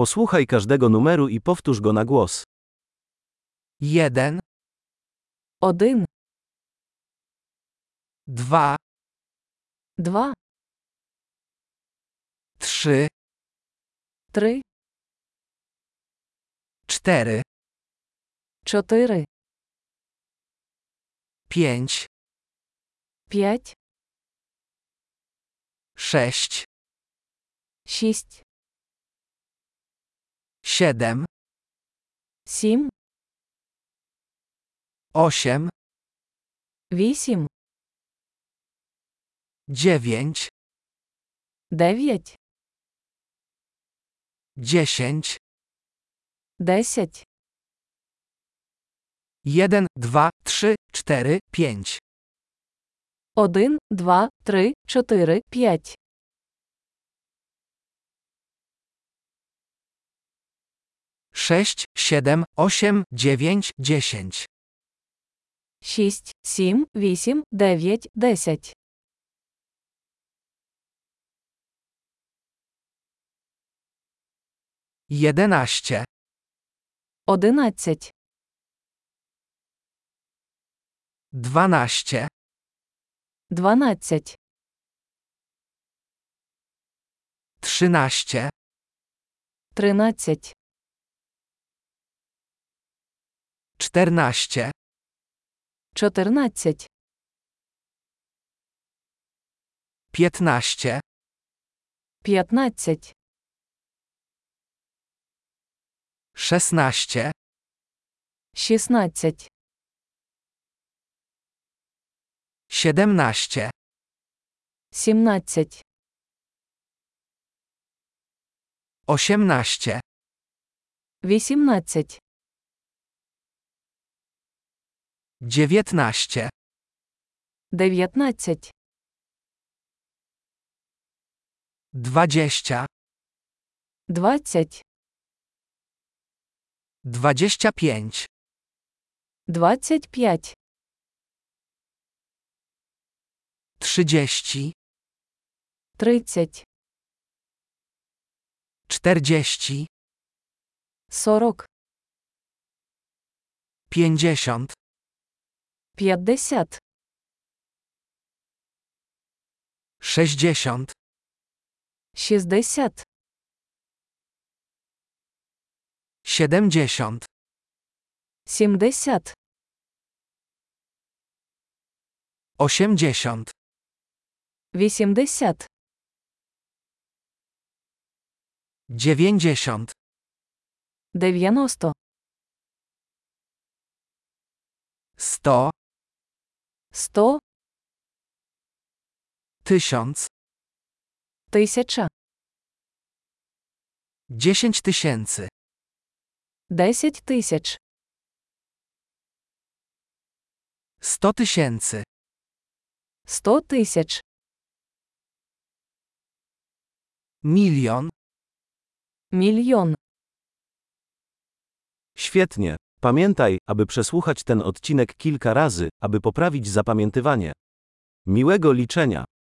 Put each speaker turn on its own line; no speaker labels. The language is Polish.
Posłuchaj każdego numeru i powtórz go na głos.
Jeden,
Один,
dwa,
два,
trzy,
три,
cztery,
чотири,
pięć,
п'ять,
sześć,
шість,
siedem,
сім,
osiem,
вісім,
dziewięć,
дев'ять,
dziesięć,
десять,
jeden, dwa, trzy, cztery, pięć,
один, два, три, чотири, п'ять,
sześć, siedem, osiem, dziewięć, dziesięć,
шість, сім, вісім, дев'ять, десять,
jedenaście,
одинадцять,
dwanaście,
дванадцять,
trzynaście,
тринадцять,
czternaście,
чотирнадцять,
piętnaście,
п'ятнадцять,
szesnaście,
шістнадцять,
siedemnaście,
сімнадцять,
osiemnaście,
вісімнадцять,
dziewiętnaście,
дев'ятнадцять,
dwadzieścia,
двадцять,
dwadzieścia pięć,
двадцять п'ять,
trzydzieści,
тридцять,
czterdzieści,
сорок,
pięćdziesiąt,
п'ятдесят,
sześćdziesiąt,
шістдесят.
siedemdziesiąt,
70,
osiemdziesiąt,
80,
dziewięćdziesiąt,
90,
sto,
100,
tysiąc,
1000,
dziesięć tysięcy,
10 тисяч,
sto tysięcy,
100 тисяч,
milion,
мільйон.
Świetnie. Pamiętaj, aby przesłuchać ten odcinek kilka razy, aby poprawić zapamiętywanie. Miłego liczenia.